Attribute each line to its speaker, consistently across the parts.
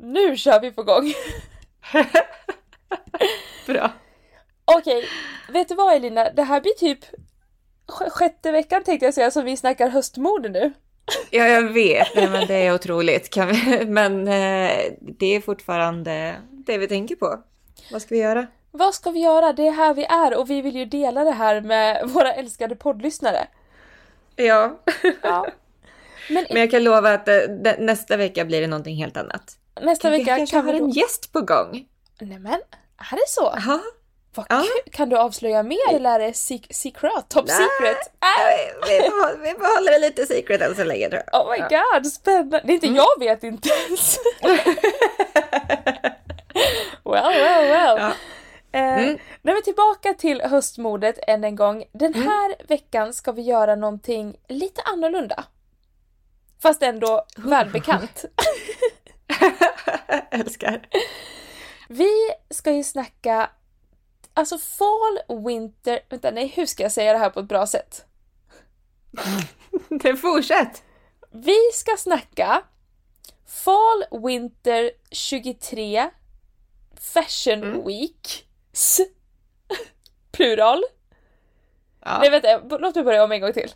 Speaker 1: nu kör vi på gång.
Speaker 2: Bra.
Speaker 1: Okej, vet du vad Elina? Det här blir typ sj- sjätte veckan tänkte jag säga som vi snackar höstmode nu.
Speaker 2: Ja, jag vet. Nej, men det är otroligt. Kan vi... Men eh, det är fortfarande det vi tänker på. Vad ska vi göra?
Speaker 1: Vad ska vi göra? Det är här vi är och vi vill ju dela det här med våra älskade poddlyssnare.
Speaker 2: Ja,
Speaker 1: Ja. Men
Speaker 2: men jag kan lova att eh, det- nästa vecka blir det någonting helt annat.
Speaker 1: nästa
Speaker 2: Vi
Speaker 1: vecka
Speaker 2: kanske
Speaker 1: kan
Speaker 2: har
Speaker 1: vi
Speaker 2: en
Speaker 1: då...
Speaker 2: gäst på gång.
Speaker 1: Nämen, är det så?
Speaker 2: Aha.
Speaker 1: Vad
Speaker 2: Ja.
Speaker 1: kul! Kan du avslöja mer eller är det sec- secret? Top
Speaker 2: Nej.
Speaker 1: secret? Äh,
Speaker 2: Vi, vi, behåller, vi behåller det lite secret än så länge tror jag.
Speaker 1: Oh my god, spännande! Det är
Speaker 2: Mm.
Speaker 1: inte jag vet inte ens. well, well, well.
Speaker 2: Ja.
Speaker 1: Eh,
Speaker 2: Mm.
Speaker 1: nej men tillbaka till höstmodet än en gång. Den
Speaker 2: Mm.
Speaker 1: här veckan ska vi göra någonting lite annorlunda. Fast ändå
Speaker 2: Oh.
Speaker 1: välbekant.
Speaker 2: Älskar.
Speaker 1: Vi ska ju snacka, alltså fall, winter, vänta nej hur ska jag säga det här på ett bra sätt?
Speaker 2: Det fortsätt.
Speaker 1: Vi ska snacka Fall Winter 23 Fashion
Speaker 2: Mm.
Speaker 1: Week S. Plural.
Speaker 2: Ja,
Speaker 1: Nej vänta, b- låt mig börja om en gång till.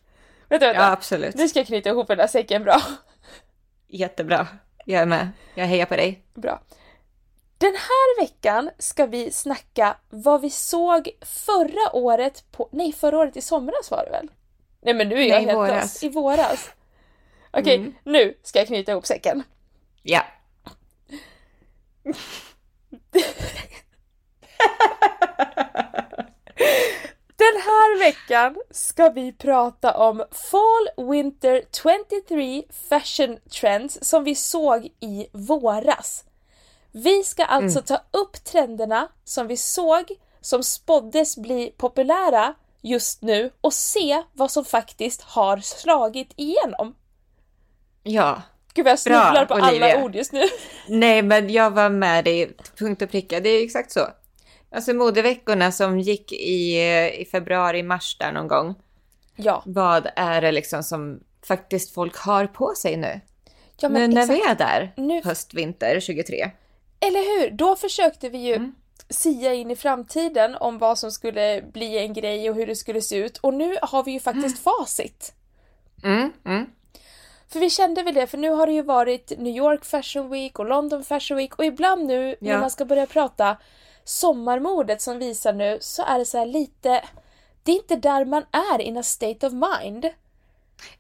Speaker 1: Vänta, vänta.
Speaker 2: ja absolut.
Speaker 1: Nu ska jag knyta ihop den där säcken bra.
Speaker 2: Jättebra. Jag är med. Jag hejar på dig.
Speaker 1: bra. Den här veckan ska vi snacka vad vi såg förra året på... Nej, förra året i somras var det väl? Nej men nu är jag
Speaker 2: Nej, i
Speaker 1: helt
Speaker 2: våras. Mm.
Speaker 1: lost. I våras. Okej, nu ska jag knyta ihop säcken.
Speaker 2: Ja.
Speaker 1: Den här veckan ska vi prata om Fall Winter 23 Fashion Trends som vi såg i våras. Vi ska alltså
Speaker 2: Mm.
Speaker 1: ta upp trenderna som vi såg, som spåddes bli populära just nu och se vad som faktiskt har slagit igenom.
Speaker 2: Ja.
Speaker 1: Gud vad jag
Speaker 2: Bra,
Speaker 1: snubblar på alla
Speaker 2: Olivia.
Speaker 1: ord just nu.
Speaker 2: Nej, men jag var med dig till punkt och pricka. Det är ju exakt så. Alltså modeveckorna som gick i, eh, i februari, mars där någon gång.
Speaker 1: Ja,
Speaker 2: Vad är det liksom som faktiskt folk har på sig nu?
Speaker 1: ja
Speaker 2: nu
Speaker 1: men
Speaker 2: när
Speaker 1: exakt.
Speaker 2: vi är där,
Speaker 1: Nu-
Speaker 2: höst, vinter 23.
Speaker 1: Eller hur? Då försökte vi ju
Speaker 2: Mm.
Speaker 1: sia in i framtiden om vad som skulle bli en grej och hur det skulle se ut. Och nu har vi ju faktiskt facit.
Speaker 2: Mm, mm.
Speaker 1: För vi kände väl det, för nu har det ju varit New York Fashion Week och London Fashion Week och ibland nu när
Speaker 2: Ja.
Speaker 1: man ska börja prata sommarmodet som visar nu så är det så här lite... Det är inte där man är in a state of mind.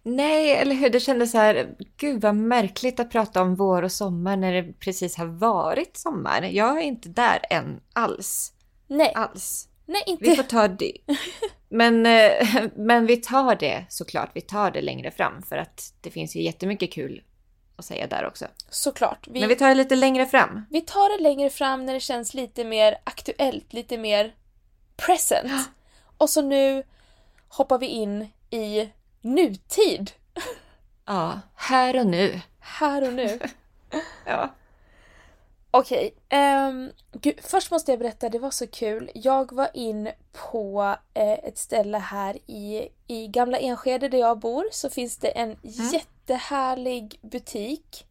Speaker 2: Nej, eller hur? Det kändes så här, gud vad märkligt att prata om vår och sommar när det precis har varit sommar. Jag är inte där än alls.
Speaker 1: Nej,
Speaker 2: Alls.
Speaker 1: nej
Speaker 2: Vi
Speaker 1: inte.
Speaker 2: får ta det. Men, eh, men vi tar det såklart. Vi tar det längre fram för att det finns ju jättemycket kul att säga där också.
Speaker 1: Såklart. Vi,
Speaker 2: Men vi tar det lite längre fram.
Speaker 1: vi tar det längre fram när det känns lite mer aktuellt, lite mer present. Och så nu hoppar vi in i nutid.
Speaker 2: Ja, här och nu.
Speaker 1: Här och nu.
Speaker 2: Ja.
Speaker 1: Okej. ehm, gud, först måste jag berätta, det var så kul. Jag var in på eh, ett ställe här i, i Gamla Enskede där jag bor. Så finns det en jättehärlig butik.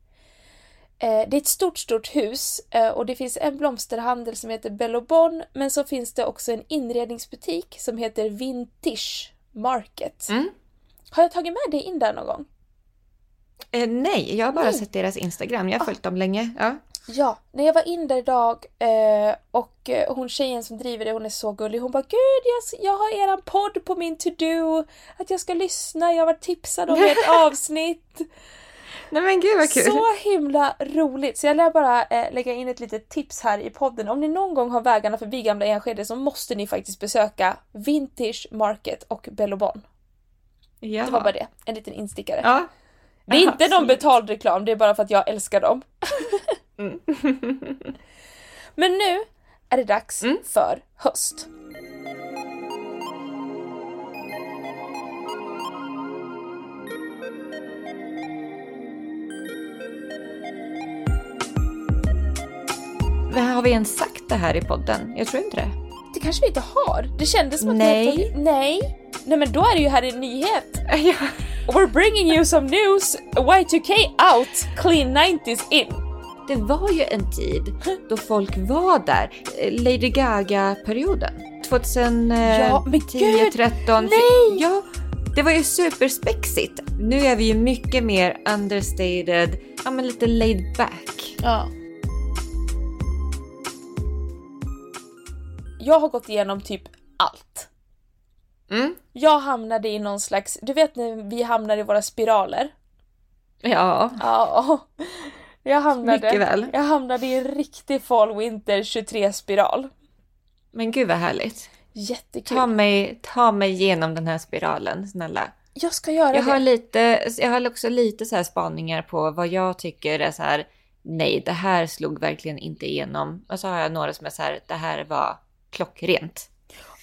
Speaker 1: Eh, det är ett stort, stort hus eh, och det finns en blomsterhandel som heter Bellobon. Men så finns det också en inredningsbutik som heter Vintage Market.
Speaker 2: Mm.
Speaker 1: Har jag tagit med dig in där någon gång?
Speaker 2: Eh, nej, Ah. jag har bara
Speaker 1: Nej.
Speaker 2: sett deras Instagram. Jag har följt dem länge. Ja.
Speaker 1: Ja, när jag var in där idag eh, och eh, hon tjejen som driver det, hon är så gullig. Hon bara Gud, jag, jag har eran podd på min to-do. Att jag ska lyssna, jag var tipsad om ert avsnitt.
Speaker 2: Nej men gud vad kul.
Speaker 1: Så himla roligt! Så jag lär bara eh, lägga in ett litet tips här i podden. Om ni någon gång har vägarna förbi Gamla Enskede så måste ni faktiskt besöka Vintage Market och Bellobon.
Speaker 2: Jaha.
Speaker 1: Det var bara det, en liten instickare.
Speaker 2: Ja.
Speaker 1: Det är inte någon
Speaker 2: Absolut.
Speaker 1: betald reklam, det är bara för att jag älskar dem.
Speaker 2: Mm.
Speaker 1: Men nu är det dags för höst.
Speaker 2: Men har vi ens sagt det här i podden? Jag tror inte det.
Speaker 1: Det kanske vi inte har? Det kändes som att
Speaker 2: Nej.
Speaker 1: vi hade tagit... Nej. Nej men då är det ju här en nyhet.
Speaker 2: Ja.
Speaker 1: We're bringing you some news! Y2K out, clean 90s in.
Speaker 2: det var ju en tid då folk var där. Eh, Lady Gaga-perioden. 2010,
Speaker 1: Ja, men gud!
Speaker 2: 13.
Speaker 1: Nej!
Speaker 2: Ja, det var ju superspexigt. Nu är vi ju mycket mer understated, ja men lite laid back.
Speaker 1: Ja. Jag har gått igenom typ allt.
Speaker 2: Mm.
Speaker 1: Jag hamnade i någon slags, du vet när vi hamnar i våra spiraler?
Speaker 2: Ja,
Speaker 1: Ja. Jag
Speaker 2: mycket
Speaker 1: hamnade,
Speaker 2: väl.
Speaker 1: jag hamnade i en riktig Fall Winter 23-spiral.
Speaker 2: Men gud vad härligt.
Speaker 1: Jättekul.
Speaker 2: Ta mig, ta mig igenom den här spiralen, snälla.
Speaker 1: Jag ska göra
Speaker 2: Jag har,
Speaker 1: det.
Speaker 2: lite, jag har också lite så här spaningar på vad jag tycker är så här. Nej, det här slog verkligen inte igenom. Och så har jag några som är så här. Det här var klockrent.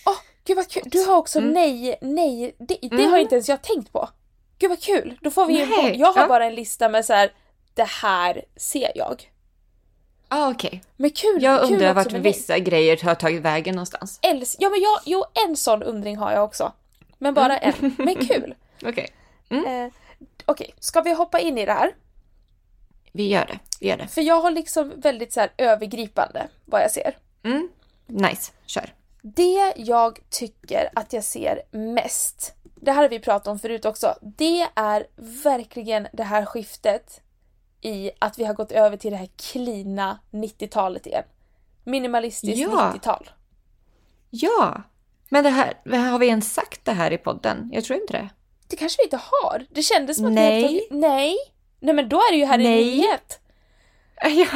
Speaker 1: Åh, gud vad kul. Du har också
Speaker 2: Mm.
Speaker 1: nej, nej. Det, det
Speaker 2: Mm.
Speaker 1: har inte ens jag tänkt på. Gud vad kul. Då får vi ju en
Speaker 2: Nej,
Speaker 1: podd. Jag har
Speaker 2: ja.
Speaker 1: bara en lista med så här. det här ser jag.
Speaker 2: Ah, okej.
Speaker 1: Men kul,
Speaker 2: Jag
Speaker 1: kul
Speaker 2: undrar
Speaker 1: också
Speaker 2: vart
Speaker 1: med nej.
Speaker 2: vissa grejer har tagit vägen någonstans.
Speaker 1: Els- ja men jag, jo en sån undring har jag också. Men bara
Speaker 2: Mm.
Speaker 1: en. Men kul.
Speaker 2: Okej,
Speaker 1: Eh, Okej, ska vi hoppa in i det här?
Speaker 2: vi gör det. Vi gör det.
Speaker 1: För jag har liksom väldigt så här övergripande vad jag ser.
Speaker 2: Mm. Nice, kör.
Speaker 1: Det jag tycker att jag ser mest, det här har vi pratat om förut också, det är verkligen det här skiftet i att vi har gått över till det här klina 90-talet igen. Minimalistiskt
Speaker 2: Ja.
Speaker 1: 90-tal.
Speaker 2: Ja, men det här, har vi ens sagt det här i podden? Jag tror inte det.
Speaker 1: Det kanske vi inte har. Det kändes som att
Speaker 2: Nej.
Speaker 1: vi helt Nej. Nej men då är det ju här
Speaker 2: Nej.
Speaker 1: i nyhet.
Speaker 2: Ja.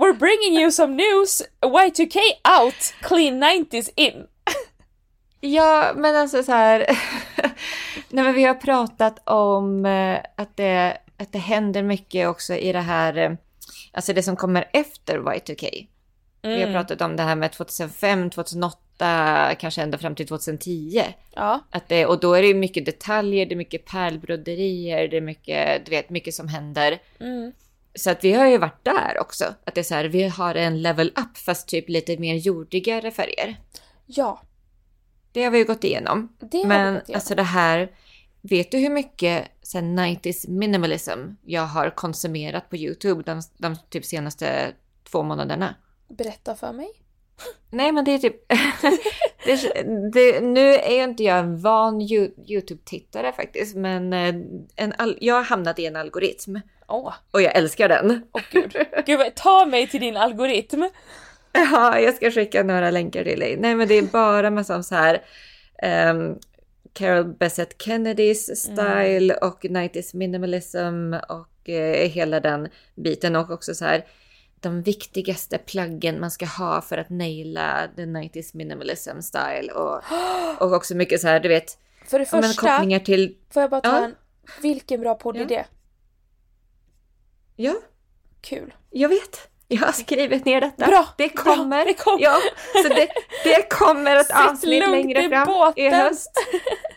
Speaker 1: We're bringing you some news. Y2K out, clean 90s in.
Speaker 2: Ja, men alltså så här. Nej, men vi har pratat om eh, att det, att det händer mycket också i det här, eh, alltså det som kommer efter Y2K. Vi har
Speaker 1: Mm.
Speaker 2: pratat om det här med 2005, 2008, kanske ända fram till 2010.
Speaker 1: Ja.
Speaker 2: Att det, och då är det ju mycket detaljer, det är mycket pärlbroderier, det är mycket, du vet, mycket som händer.
Speaker 1: Mm.
Speaker 2: Så att vi har ju varit där också. Att det är så här, vi har en level up fast typ lite mer jordigare färger.
Speaker 1: Ja.
Speaker 2: Det har vi ju gått igenom.
Speaker 1: Det har vi
Speaker 2: Men
Speaker 1: gått igenom.
Speaker 2: alltså det här, vet du hur mycket sen 90s minimalism jag har konsumerat på YouTube de, de typ senaste två månaderna?
Speaker 1: Berätta för mig.
Speaker 2: Nej men det är typ... det, det, nu är ju inte jag en van Yo- YouTube-tittare faktiskt men eh, en al- jag har hamnat i en algoritm
Speaker 1: Åh,
Speaker 2: och jag älskar den.
Speaker 1: åh gud. gud. vad- Ta mig till din algoritm.
Speaker 2: Ja, jag ska skicka några länkar till dig. Nej, men det är bara massa så här ehm, Carol Bessett
Speaker 1: Mm.
Speaker 2: Kennedys style och 90s minimalism och eh, hela den biten och också så här de viktigaste plaggen man ska ha för att naila the 90s minimalism style och, och också mycket så här, du vet,
Speaker 1: För det
Speaker 2: ja, men
Speaker 1: första,
Speaker 2: kopplingar till,
Speaker 1: får jag bara ta
Speaker 2: Ja.
Speaker 1: en... Vilken bra podd
Speaker 2: Ja.
Speaker 1: är det?
Speaker 2: ja,
Speaker 1: Kul.
Speaker 2: jag vet. Jag har skrivit ner detta.
Speaker 1: Bra,
Speaker 2: det
Speaker 1: bra,
Speaker 2: kommer.
Speaker 1: det kommer.
Speaker 2: Ja, så det, det kommer ett
Speaker 1: Sitt
Speaker 2: avsnitt
Speaker 1: lugnt
Speaker 2: längre
Speaker 1: i
Speaker 2: fram i
Speaker 1: båten.
Speaker 2: höst.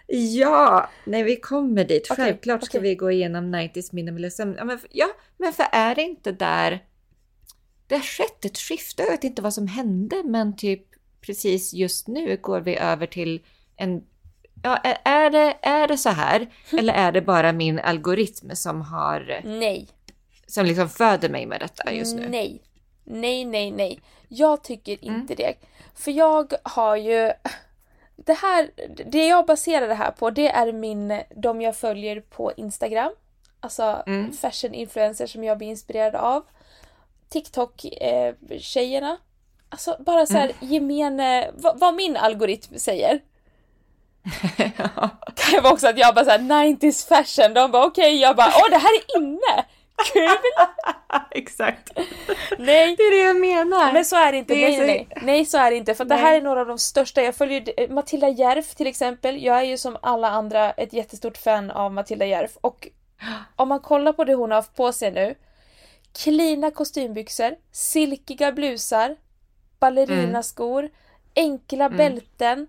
Speaker 2: Ja, nej vi kommer dit.
Speaker 1: Okej,
Speaker 2: Självklart ska
Speaker 1: okej.
Speaker 2: vi gå igenom 90s minimalism. Ja men, ja, men för är det inte där... Det har skett ett skifte. Jag vet inte vad som hände, men typ precis just nu går vi över till en... Ja, är- är det, är det så här? Eller är det bara min algoritm som har...
Speaker 1: Nej.
Speaker 2: Som liksom föder mig med detta just nu? Mm.
Speaker 1: Nej. Nej, nej, nej. Jag tycker inte det. För jag har ju... Det här, det jag baserar det här på det är min, de jag följer på Instagram. Alltså
Speaker 2: Mm.
Speaker 1: fashion influencers som jag blir inspirerad av. TikTok-tjejerna. alltså bara så här
Speaker 2: Mm.
Speaker 1: gemene, vad, vad min algoritm säger. Det var också att jag bara såhär 90s fashion, de bara okej, jag bara åh det här är inne! Kul!
Speaker 2: Exakt.
Speaker 1: Nej!
Speaker 2: Det är det jag menar.
Speaker 1: Men så är det inte.
Speaker 2: Det är
Speaker 1: nej,
Speaker 2: så-
Speaker 1: nej, nej, så är det inte. För att det
Speaker 2: Nej.
Speaker 1: här är några av de största. Jag följer eh, Matilda Järf till exempel. Jag är ju som alla andra ett jättestort fan av Matilda Järf. Och om man kollar på det hon har haft på sig nu. Klina kostymbyxor, silkiga
Speaker 2: Mm.
Speaker 1: blusar, ballerinaskor, enkla bälten.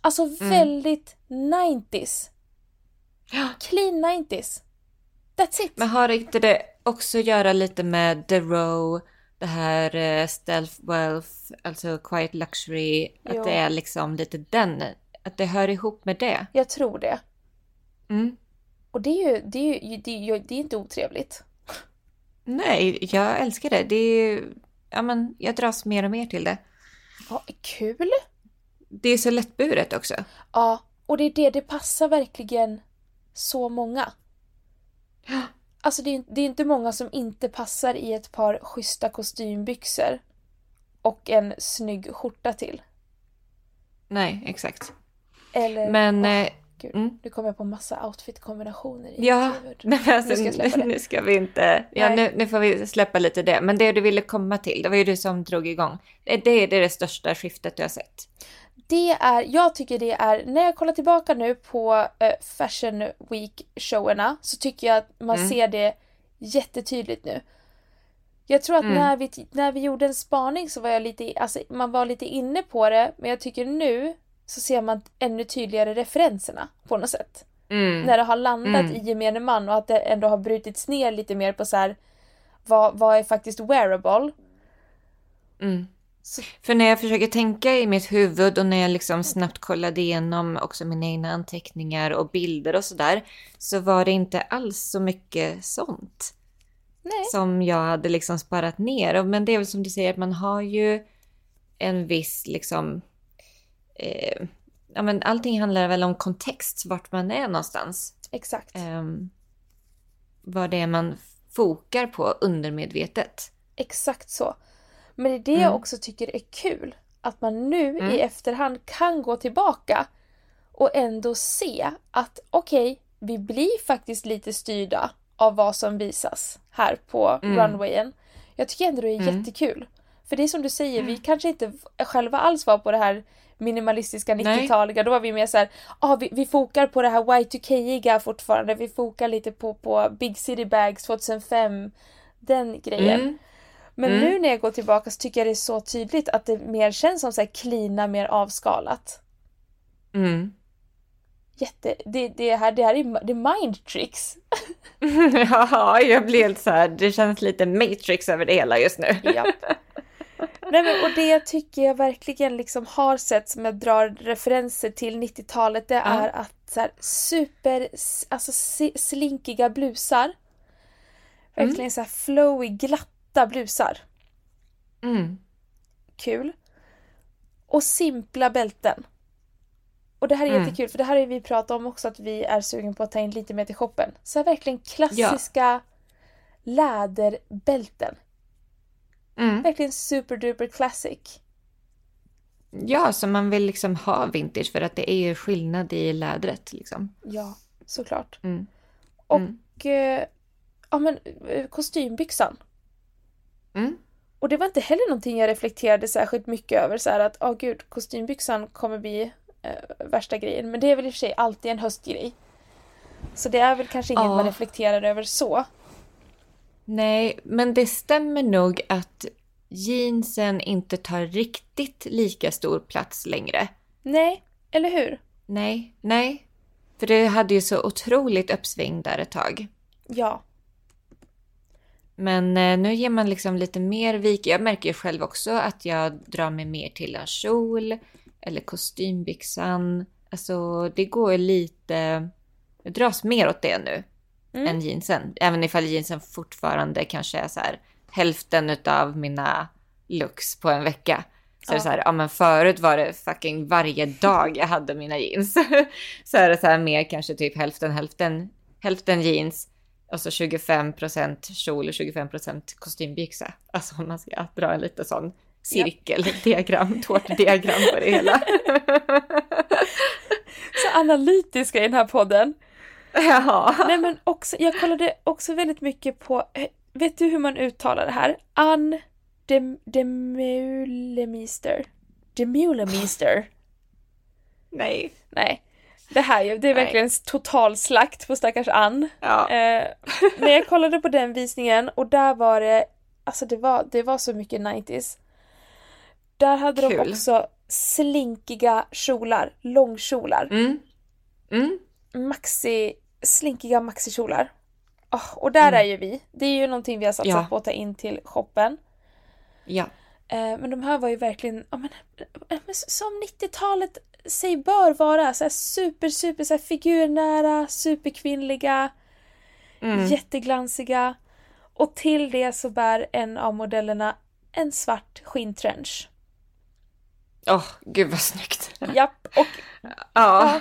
Speaker 1: Alltså
Speaker 2: Mm.
Speaker 1: väldigt 90s.
Speaker 2: Ja.
Speaker 1: Clean 90s. That's it.
Speaker 2: Men har inte det också att göra lite med The Row, det här eh, Stealth Wealth, alltså Quiet Luxury,
Speaker 1: Jo.
Speaker 2: att det är liksom lite den, att det hör ihop med det?
Speaker 1: Jag tror det.
Speaker 2: Mm.
Speaker 1: Och det är ju, det är ju, det är ju det är inte otrevligt.
Speaker 2: Nej, jag älskar det. det är, ja, men, jag dras mer och mer till det.
Speaker 1: Ja, kul!
Speaker 2: Det är så lättburet också.
Speaker 1: Ja, och det är det, det passar verkligen så många. Alltså det är, det är inte många som inte passar i ett par schyssta kostymbyxor och en snygg skjorta till.
Speaker 2: Nej, exakt.
Speaker 1: Eller...
Speaker 2: Men...
Speaker 1: Åh,
Speaker 2: eh,
Speaker 1: gud.
Speaker 2: mm.
Speaker 1: Nu kommer jag på massa outfitkombinationer i
Speaker 2: Ja,
Speaker 1: mitt huvud.
Speaker 2: nej, men alltså,
Speaker 1: Nu ska jag släppa det.
Speaker 2: nu ska vi inte... Ja,
Speaker 1: Nej.
Speaker 2: nu, nu får vi släppa lite det. Men det du ville komma till, det var ju du som drog igång. Eh, Det det är det största skiftet jag har sett.
Speaker 1: Det är, jag tycker det är, när jag kollar tillbaka nu på eh, Fashion Week-showerna så tycker jag att man
Speaker 2: Mm.
Speaker 1: ser det jättetydligt nu. Jag tror att
Speaker 2: Mm.
Speaker 1: när, vi, t- när vi gjorde en spaning så var jag lite, alltså man var lite inne på det men jag tycker nu så ser man ännu tydligare referenserna på något sätt.
Speaker 2: Mm.
Speaker 1: När det har landat
Speaker 2: Mm.
Speaker 1: i gemene man och att det ändå har brutits ner lite mer på så här vad, vad är faktiskt wearable?
Speaker 2: Mm.
Speaker 1: Så-
Speaker 2: För när jag försöker tänka i mitt huvud och när jag liksom snabbt kollade igenom också mina egna anteckningar och bilder och sådär, så var det inte alls så mycket sånt
Speaker 1: Nej.
Speaker 2: som jag hade liksom sparat ner. Och- Men det är väl som du säger, att man har ju en viss liksom... Eh, ja, men allting handlar väl om kontext, vart man är någonstans.
Speaker 1: Exakt.
Speaker 2: Ehm, vad det är man fokar på undermedvetet.
Speaker 1: Exakt så. Men det är det jag
Speaker 2: Mm.
Speaker 1: också tycker är kul. Att man nu
Speaker 2: Mm.
Speaker 1: i efterhand kan gå tillbaka och ändå se att okej, vi blir faktiskt lite styrda av vad som visas här på
Speaker 2: Mm.
Speaker 1: runwayen. Jag tycker ändå det är
Speaker 2: Mm.
Speaker 1: jättekul. För det är som du säger, vi kanske inte v- själva alls var på det här minimalistiska
Speaker 2: Nej.
Speaker 1: 90-taliga. Då var vi mer såhär, ah, vi, vi fokar på det här Y2K-iga fortfarande. Vi fokar lite på, på Big City Bags 2005. Den grejen.
Speaker 2: Mm.
Speaker 1: Men
Speaker 2: Mm.
Speaker 1: nu när jag går tillbaka så tycker jag det är så tydligt att det mer känns som så här klina, mer avskalat.
Speaker 2: Mm.
Speaker 1: Jätte, det, det, här, det här är, det är mind tricks.
Speaker 2: ja, jag blir helt så här. Det känns lite Matrix över det hela just nu.
Speaker 1: Japp. Nej, men, och det tycker jag verkligen liksom har sett som jag drar referenser till 90-talet det är att så här, super alltså, si- slinkiga blusar. Verkligen så här flowy, glatta blusar.
Speaker 2: Mm.
Speaker 1: kul. Och simpla bälten. Och det här är
Speaker 2: Mm.
Speaker 1: jättekul för det här har ju vi pratat om också att vi är sugen på att ta in lite mer till shoppen. Så här verkligen klassiska läderbälten.
Speaker 2: Mm.
Speaker 1: Verkligen superduper classic.
Speaker 2: Ja, så man vill liksom ha vintage för att det är ju skillnad i lädret liksom.
Speaker 1: Ja, såklart.
Speaker 2: Mm.
Speaker 1: Och-
Speaker 2: Mm.
Speaker 1: Och eh, ja men eh, kostymbyxan.
Speaker 2: Mm.
Speaker 1: Och det var inte heller någonting jag reflekterade särskilt mycket över så här att åh gud kostymbyxan kommer bli eh, värsta grejen. Men det är väl i och för sig alltid en höstgrej. Så det är väl kanske inget
Speaker 2: Ja.
Speaker 1: man reflekterar över så.
Speaker 2: Nej, men det stämmer nog att jeansen inte tar riktigt lika stor plats längre.
Speaker 1: Nej, eller hur?
Speaker 2: Nej, nej. För det hade ju så otroligt uppsving där ett tag.
Speaker 1: Ja.
Speaker 2: Men eh, nu ger man liksom lite mer vik. Jag märker ju själv också att jag drar mig mer till en kjol eller kostymbyxan. Alltså det går ju lite... Jag dras mer åt det nu
Speaker 1: Mm.
Speaker 2: än jeansen. Även ifall jeansen fortfarande kanske är så här hälften av mina looks på en vecka. Så är det
Speaker 1: Ja.
Speaker 2: så här, ja men förut var det fucking varje dag jag hade mina jeans. så är det så här mer kanske typ hälften, hälften, hälften jeans och så 25% kjol och 25% kostymbyxa. Alltså om man ska dra en lite sån cirkeldiagram, tårtdiagram på det hela.
Speaker 1: Så analytiska i den här podden.
Speaker 2: ja.
Speaker 1: Nej men också, jag kollade också väldigt mycket på, eh, vet du hur man uttalar det här? Ann Dem- Demulemister. Demulemister.
Speaker 2: Nej.
Speaker 1: Nej. Det här är- det är
Speaker 2: Nej.
Speaker 1: verkligen en total slakt på stackars Ann.
Speaker 2: Ja.
Speaker 1: Eh, när jag kollade på den visningen och där var det, alltså det var, det var så mycket 90s. Där hade de
Speaker 2: Kul.
Speaker 1: också slinkiga kjolar, långkjolar.
Speaker 2: Mm. Mm.
Speaker 1: maxi, slinkiga maxikjolar. Åh, och där
Speaker 2: Mm.
Speaker 1: är ju vi. Det är ju någonting vi har satsat
Speaker 2: Ja.
Speaker 1: på att ta in till shoppen.
Speaker 2: Ja.
Speaker 1: Eh, men de här var ju verkligen, ja, men, eh, men som 90-talet sig bör vara. Så här super, super så här figurnära, superkvinnliga,
Speaker 2: Mm.
Speaker 1: jätteglansiga. Och till det så bär en av modellerna en svart skintrench.
Speaker 2: Åh, gud vad snyggt.
Speaker 1: Japp, och
Speaker 2: Ja.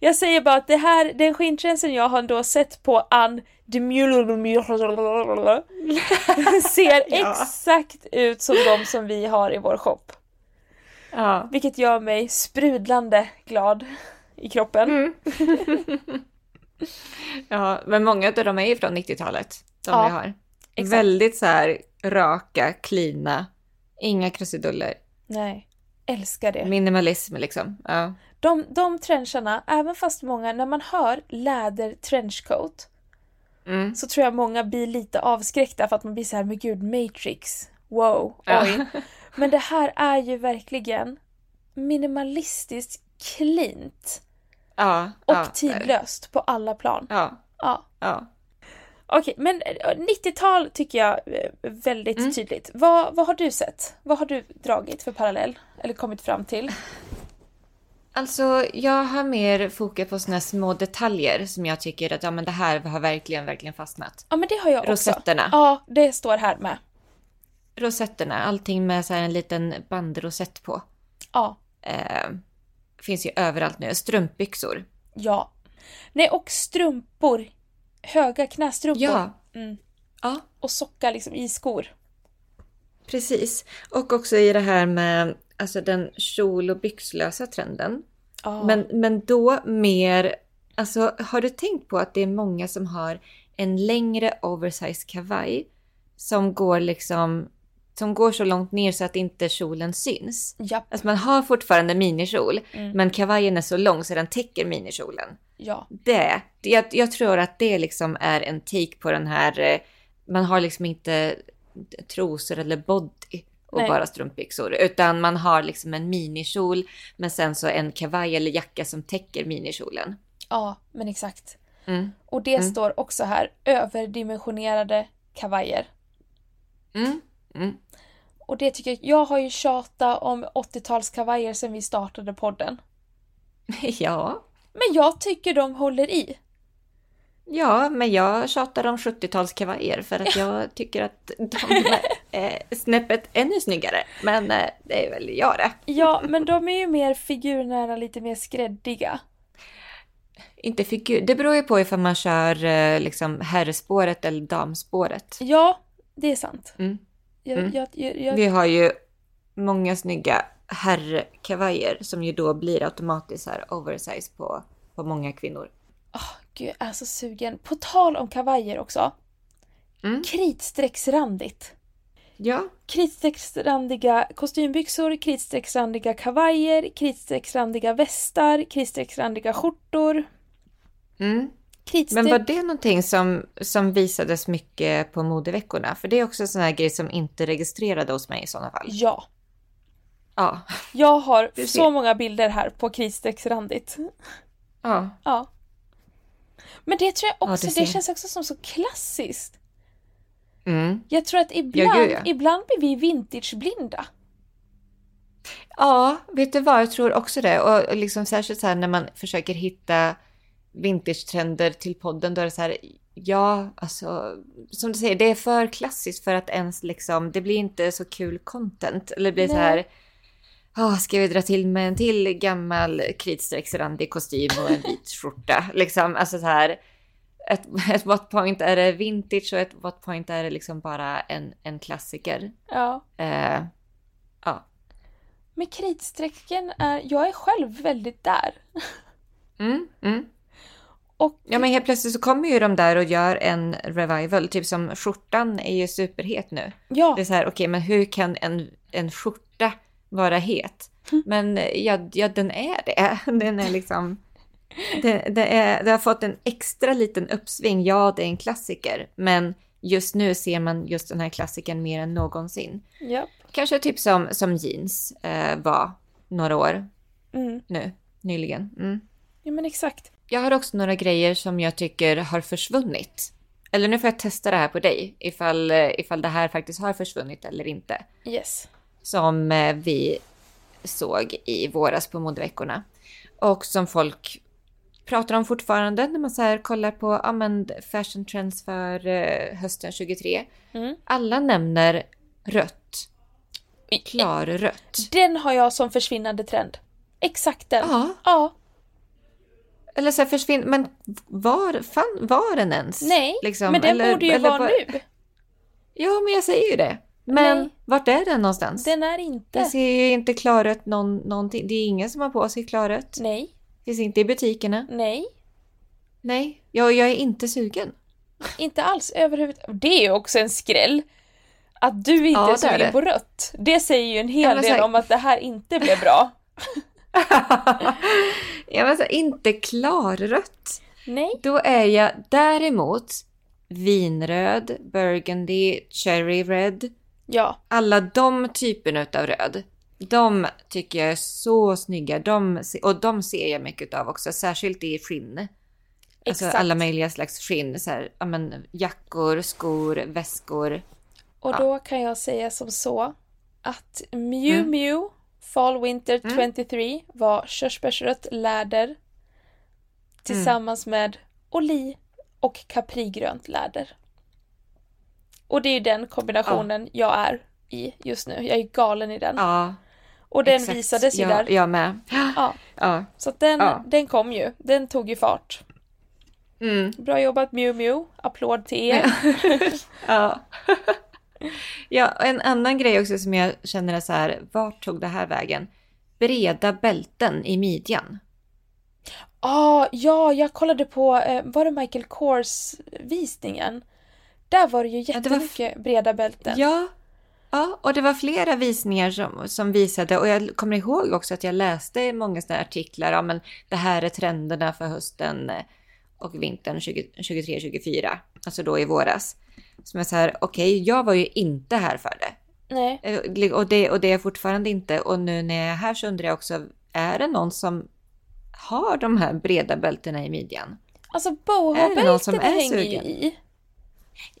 Speaker 1: jag säger bara att det här, den skintrenchen jag har då sett på Ann Demululul- ser
Speaker 2: Ja.
Speaker 1: exakt ut som de som vi har i vår shop.
Speaker 2: ja.
Speaker 1: Vilket gör mig sprudlande glad i kroppen.
Speaker 2: ja. Men många av dem är ju från 90-talet. De
Speaker 1: Ja,
Speaker 2: vi har.
Speaker 1: exakt.
Speaker 2: Väldigt så här raka, klina, inga krusiduller.
Speaker 1: Nej, älskar det.
Speaker 2: Minimalism liksom. Ja.
Speaker 1: De, de trencharna, även fast många, när man hör läder trenchcoat
Speaker 2: Mm.
Speaker 1: så tror jag många blir lite avskräckta för att man blir så här, men gud, Matrix, wow,
Speaker 2: Ja.
Speaker 1: oj. Men det här är ju verkligen minimalistiskt cleant
Speaker 2: Ja.
Speaker 1: och
Speaker 2: ja,
Speaker 1: tidlöst på alla plan.
Speaker 2: Ja.
Speaker 1: Ja.
Speaker 2: Ja.
Speaker 1: Okej, men eh, 90-tal tycker jag eh, väldigt
Speaker 2: Mm.
Speaker 1: tydligt. Vad, vad har du sett? Vad har du dragit för parallell? Eller kommit fram till?
Speaker 2: Alltså, jag har mer fokus på såna små detaljer som jag tycker att ja, men det här har verkligen, verkligen fastnat.
Speaker 1: Ja, men det har jag också.
Speaker 2: Rosetterna.
Speaker 1: Ja, det står här med.
Speaker 2: Rosetterna, allting med så här en liten bandrosett på.
Speaker 1: Ja.
Speaker 2: Eh, finns ju överallt nu. Strumpbyxor.
Speaker 1: Ja. Nej, och strumpor. Höga knästrumpor.
Speaker 2: Ja.
Speaker 1: Mm.
Speaker 2: Ja,
Speaker 1: Och sockar liksom i skor.
Speaker 2: precis. Och också i det här med alltså, den kjol och byxlösa trenden.
Speaker 1: Ja.
Speaker 2: Men, men då mer, alltså har du tänkt på att det är många som har en längre oversized kavaj som går liksom, som går så långt ner så att inte kjolen syns.
Speaker 1: Japp,
Speaker 2: Alltså man har fortfarande minikjol,
Speaker 1: Mm.
Speaker 2: men kavajen är så lång så den täcker minikjolen.
Speaker 1: ja.
Speaker 2: Det, det jag, jag tror att det liksom är en take på den här, eh, man har liksom inte trosor eller body och
Speaker 1: Nej.
Speaker 2: bara strumpbyxor, utan man har liksom en minikjol, men sen så en kavaj eller jacka som täcker minikjolen.
Speaker 1: Ja, men exakt.
Speaker 2: Mm.
Speaker 1: Och det
Speaker 2: Mm.
Speaker 1: står också här. Överdimensionerade kavajer.
Speaker 2: Mm. Mm.
Speaker 1: Och det tycker jag, jag har ju tjatat om 80-talskavajer sedan vi startade podden.
Speaker 2: Ja.
Speaker 1: Men jag tycker de håller i.
Speaker 2: ja, men jag tjatar om 70-talskavajer för att jag tycker att de är eh, snäppet ännu snyggare. Men eh, det är väl jag det.
Speaker 1: Ja, men de är ju mer figurnära, lite mer skräddiga.
Speaker 2: Inte figur. Det beror ju på ifall man kör eh, liksom herrspåret eller damspåret.
Speaker 1: Ja, det är sant.
Speaker 2: Mm.
Speaker 1: Jag,
Speaker 2: Mm.
Speaker 1: jag, jag, jag,
Speaker 2: Vi har ju många snygga herrkavajer som ju då blir automatiskt så här oversize på, på många kvinnor.
Speaker 1: Åh, gud, jag är så sugen. På tal om kavajer också.
Speaker 2: Mm.
Speaker 1: Kritstrecksrandigt.
Speaker 2: Ja.
Speaker 1: Kritstrecksrandiga kostymbyxor, kritstrecksrandiga kavajer, kritstrecksrandiga västar, kritstrecksrandiga skjortor.
Speaker 2: Mm.
Speaker 1: Kritstreck...
Speaker 2: Men var det någonting som, som visades mycket på modeveckorna? För det är också en sån här grej som inte registrerade hos mig i sådana fall.
Speaker 1: Ja.
Speaker 2: Ja.
Speaker 1: Jag har
Speaker 2: Du
Speaker 1: så
Speaker 2: ser.
Speaker 1: många bilder här på kritstrecksrandigt.
Speaker 2: Ja.
Speaker 1: Ja. Men det tror jag
Speaker 2: Ja,
Speaker 1: också,
Speaker 2: du
Speaker 1: det
Speaker 2: ser.
Speaker 1: känns också som så klassiskt.
Speaker 2: Mm.
Speaker 1: Jag tror att ibland,
Speaker 2: gud, ja.
Speaker 1: ibland blir vi vintageblinda.
Speaker 2: Ja, vet du vad? Jag tror också det. Och liksom särskilt så här när man försöker hitta vintage-trender till podden, då är det så här, ja, alltså, som du säger, det är för klassiskt för att ens liksom, det blir inte så kul content. Eller det blir så
Speaker 1: Nej.
Speaker 2: här, "Åh, ska vi dra till med en till gammal kritstrecksrandig kostym och en vit skjorta? liksom, alltså så här, ett, ett what point är det vintage och ett what point är det liksom bara en, en klassiker.
Speaker 1: Ja.
Speaker 2: Eh, ja.
Speaker 1: Men kritstrecken är, jag är själv väldigt där.
Speaker 2: Mm, mm.
Speaker 1: Och
Speaker 2: Ja men helt plötsligt så kommer ju de där och gör en revival, typ som skjortan är ju superhet nu.
Speaker 1: ja,
Speaker 2: Det är så här, okej men hur kan en, en skjorta vara het?
Speaker 1: Mm.
Speaker 2: Men ja, ja, den är det. Den är liksom... Det, det, är, det har fått en extra liten uppsving. Ja, det är en klassiker, men just nu ser man just den här klassikern mer än någonsin.
Speaker 1: ja.
Speaker 2: Kanske typ som, som jeans eh, var några år
Speaker 1: Mm.
Speaker 2: nu, nyligen. Mm.
Speaker 1: ja, men exakt.
Speaker 2: Jag har också några grejer som jag tycker har försvunnit. Eller nu får jag testa det här på dig, ifall, eh, ifall det här faktiskt har försvunnit eller inte.
Speaker 1: Yes.
Speaker 2: Som eh, vi såg i våras på modeveckorna. Och som folk pratar om fortfarande när man så här kollar på ja, men fashion trends för eh, hösten 23.
Speaker 1: Mm.
Speaker 2: Alla nämner rött. Klarrött.
Speaker 1: Den har jag som försvinnande trend. Exakt den.
Speaker 2: Ja,
Speaker 1: Ja,
Speaker 2: eller så här försvinn... Men var, fan, var den ens?
Speaker 1: nej,
Speaker 2: liksom,
Speaker 1: men den
Speaker 2: eller-
Speaker 1: borde ju
Speaker 2: eller
Speaker 1: vara
Speaker 2: var-
Speaker 1: nu.
Speaker 2: Ja, men jag säger ju det. Men
Speaker 1: Nej.
Speaker 2: vart är den någonstans?
Speaker 1: Den är inte.
Speaker 2: Jag ser ju inte klarrött någon, någonting. Det är ingen som har på sig klarrött.
Speaker 1: Nej,
Speaker 2: Finns inte i butikerna.
Speaker 1: nej,
Speaker 2: Nej, jag, jag är inte sugen.
Speaker 1: inte alls överhuvudtaget. Det är ju också en skräll. Att du inte
Speaker 2: Ja,
Speaker 1: är
Speaker 2: det är
Speaker 1: sugen
Speaker 2: det.
Speaker 1: på rött. Det säger ju en
Speaker 2: Ja,
Speaker 1: hel
Speaker 2: men
Speaker 1: del
Speaker 2: så-
Speaker 1: om att det här inte blev bra.
Speaker 2: jag menar, inte klarrött.
Speaker 1: Nej,
Speaker 2: Då är jag däremot vinröd, burgundy, cherry red.
Speaker 1: ja,
Speaker 2: Alla de typerna utav röd. De tycker jag är så snygga. De, se- och de ser jag mycket av också, särskilt i skinn. Alltså
Speaker 1: exakt.
Speaker 2: alla möjliga slags skinn. Så här, ja, men, jackor, skor,
Speaker 1: Mm.
Speaker 2: väskor.
Speaker 1: Och
Speaker 2: Ja.
Speaker 1: då kan jag säga som så att Miu
Speaker 2: Mm.
Speaker 1: Miu Fall Winter
Speaker 2: Mm.
Speaker 1: 23 var körsbärsrött läder tillsammans
Speaker 2: Mm.
Speaker 1: med oli och kaprigrönt läder. Och det är ju den kombinationen jag är i just nu. Jag är galen i den.
Speaker 2: Ja,
Speaker 1: och den
Speaker 2: exakt.
Speaker 1: visades ju
Speaker 2: jag,
Speaker 1: där.
Speaker 2: Jag med.
Speaker 1: Ja.
Speaker 2: Ja.
Speaker 1: Så att den,
Speaker 2: Ja.
Speaker 1: den kom ju. Den tog ju fart.
Speaker 2: Mm.
Speaker 1: Bra jobbat Miu Miu. Applåd till er.
Speaker 2: Ja. ja, och en annan grej också som jag känner är så här, vart tog det här vägen? Breda bälten i midjan.
Speaker 1: Ah, ja, jag kollade på, eh, var det Michael Kors-visningen? Där var det ju
Speaker 2: det var f-
Speaker 1: jättemycket breda bälten.
Speaker 2: Ja. Ja, och det var flera visningar som, som visade och jag kommer ihåg också att jag läste många sådana artiklar, ja men det här är trenderna för hösten eh, och vintern 23-24, alltså då i våras. Som är så här, okej, jag var ju inte här för det.
Speaker 1: Nej,
Speaker 2: Eh, Och det, och det är jag fortfarande inte. Och nu när jag är här så undrar jag också, är det någon som har de här breda bältena i midjan?
Speaker 1: alltså
Speaker 2: Är det någon som
Speaker 1: boho-bältena
Speaker 2: är
Speaker 1: hänger ju
Speaker 2: sugen?
Speaker 1: i.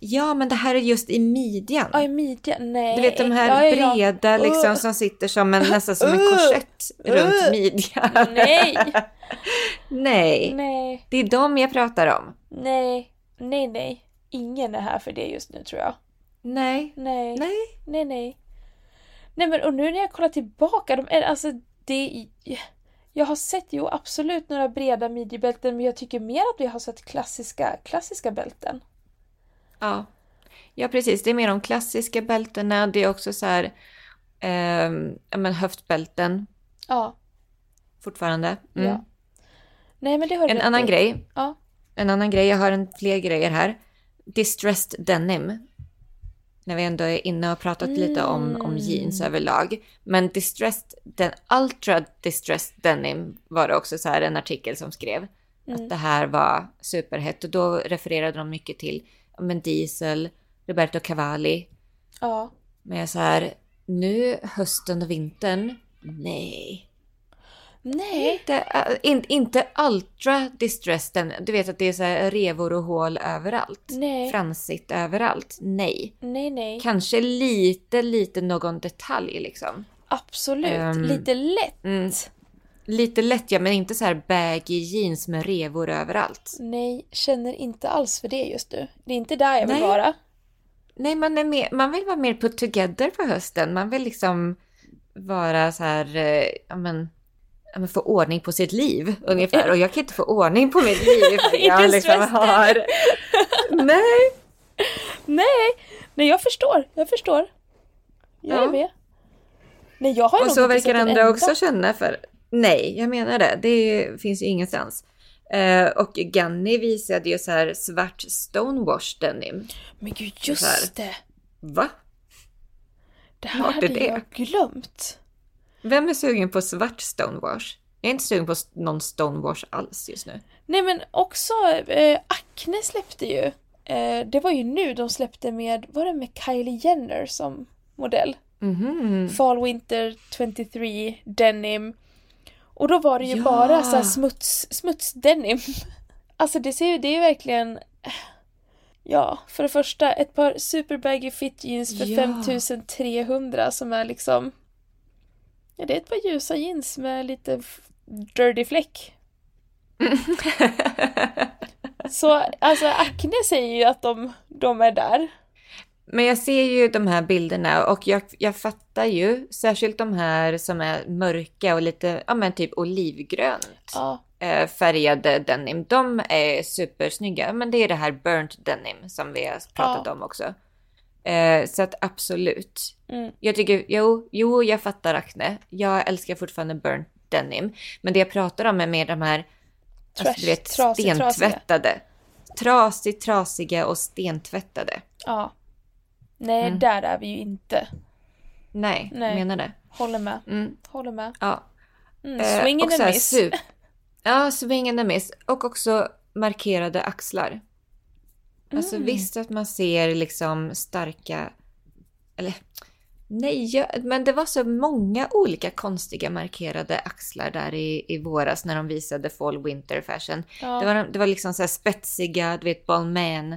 Speaker 2: Ja, men det här är just i midjan.
Speaker 1: Ja, i midjan. Nej.
Speaker 2: Du vet de här
Speaker 1: ja, ja, ja.
Speaker 2: breda liksom
Speaker 1: Uh.
Speaker 2: som sitter som en, nästan som en
Speaker 1: Uh.
Speaker 2: korsett
Speaker 1: Uh.
Speaker 2: runt midjan.
Speaker 1: Nej,
Speaker 2: Nej,
Speaker 1: nej,
Speaker 2: det är de jag pratar om.
Speaker 1: nej, nej, nej. Ingen är här för det just nu tror jag.
Speaker 2: Nej,
Speaker 1: Nej,
Speaker 2: nej.
Speaker 1: nej, nej. Nej men och nu när jag kollar tillbaka, de är alltså det... Jag har sett ju absolut några breda midjebälten men jag tycker mer att vi har sett klassiska, klassiska bälten.
Speaker 2: Ja. ja, precis. Det är mer de klassiska bältena. Det är också så här, ehm, ja men höftbälten
Speaker 1: Ja.
Speaker 2: fortfarande. Mm.
Speaker 1: Ja. Nej men det har du
Speaker 2: En
Speaker 1: rätt
Speaker 2: annan
Speaker 1: i.
Speaker 2: grej.
Speaker 1: Ja.
Speaker 2: En annan grej. Jag har en, fler grejer här. Distressed denim. När vi ändå är inne och pratat lite om, om
Speaker 1: Mm.
Speaker 2: jeans överlag. Men distressed, den ultra distressed denim var det också så här en artikel som skrev.
Speaker 1: Mm.
Speaker 2: Att det här var superhett och då refererade de mycket till ja, men Diesel, Roberto Cavalli.
Speaker 1: Ja.
Speaker 2: Men jag är så här, nu hösten och vintern, nej.
Speaker 1: Nej.
Speaker 2: Inte, äh, in, inte ultra distressed. den- Du vet att det är så här revor och hål överallt.
Speaker 1: Nej.
Speaker 2: Fransigt överallt. Nej.
Speaker 1: Nej nej.
Speaker 2: Kanske lite, lite någon detalj liksom.
Speaker 1: Absolut.
Speaker 2: Ehm.
Speaker 1: Lite lätt.
Speaker 2: Mm. Lite lätt ja, men inte så här baggy jeans med revor överallt.
Speaker 1: Nej, känner inte alls för det just nu. Det är inte där jag vill
Speaker 2: Nej.
Speaker 1: vara.
Speaker 2: Nej, man, är mer, man vill vara mer put together på hösten. Man vill liksom vara så här, eh, ja men, ja, men få ordning på sitt liv ungefär. Och jag kan inte få ordning på mitt liv ifall
Speaker 1: Inte
Speaker 2: jag liksom
Speaker 1: stressad.
Speaker 2: har... Nej.
Speaker 1: Nej jag förstår. Jag förstår. Jag är
Speaker 2: Ja.
Speaker 1: med. Nej jag har
Speaker 2: Och
Speaker 1: nog
Speaker 2: så
Speaker 1: inte
Speaker 2: verkar
Speaker 1: sett en
Speaker 2: andra
Speaker 1: enda.
Speaker 2: också känna för. Nej, jag menar det. Det finns ju ingenstans. Eh, och Ganni visade ju så här svart stonewash denim.
Speaker 1: Men gud
Speaker 2: Så här.
Speaker 1: just det.
Speaker 2: Va?
Speaker 1: Det här
Speaker 2: Vart är
Speaker 1: hade
Speaker 2: det?
Speaker 1: jag glömt.
Speaker 2: Vem är sugen på svart stonewash? Jag är inte sugen på s- någon stonewash alls just nu.
Speaker 1: Nej men också eh, Acne släppte ju. Eh, det var ju nu de släppte med, var det med Kylie Jenner som modell?
Speaker 2: Mhm.
Speaker 1: Fall Winter 23 denim. Och då var det ju
Speaker 2: Ja.
Speaker 1: bara så här smuts, smutsdenim. Alltså det ser ju, det är ju verkligen... eh, Ja, för det första ett par super baggy fit jeans för
Speaker 2: Ja.
Speaker 1: 5300 som är liksom... Ja, det är ett par ljusa jeans med lite f- dirty fläck. Så alltså Acne säger ju att de, de är där.
Speaker 2: Men jag ser ju de här bilderna och jag, jag fattar ju, särskilt de här som är mörka och lite, ja men typ olivgrönt
Speaker 1: Ja,
Speaker 2: eh, färgade denim. De är supersnygga, men det är det här burnt denim som vi har pratat
Speaker 1: Ja.
Speaker 2: om också. Eh, så att absolut.
Speaker 1: Mm.
Speaker 2: Jag tycker, jo, jo, jag fattar Acne. Jag älskar fortfarande burnt denim. Men det jag pratar om är mer de här
Speaker 1: Trash,
Speaker 2: alltså, du vet,
Speaker 1: trasig, trasiga.
Speaker 2: stentvättade. Trasigt, trasiga och stentvättade.
Speaker 1: ja. Nej,
Speaker 2: Mm.
Speaker 1: där är vi ju inte.
Speaker 2: Nej,
Speaker 1: Nej.
Speaker 2: menar det.
Speaker 1: Håller med.
Speaker 2: Mm,
Speaker 1: Håller med.
Speaker 2: ja.
Speaker 1: Mm,
Speaker 2: Eh,
Speaker 1: swing
Speaker 2: och
Speaker 1: and
Speaker 2: så
Speaker 1: a
Speaker 2: här
Speaker 1: miss.
Speaker 2: sup- ja, swing and a miss. Och också markerade axlar. Alltså
Speaker 1: Mm.
Speaker 2: visst att man ser liksom starka... Eller nej, jag, men det var så många olika konstiga markerade axlar där i, i våras när de visade Fall Winter Fashion.
Speaker 1: Ja.
Speaker 2: Det, var, det var liksom så här spetsiga, du vet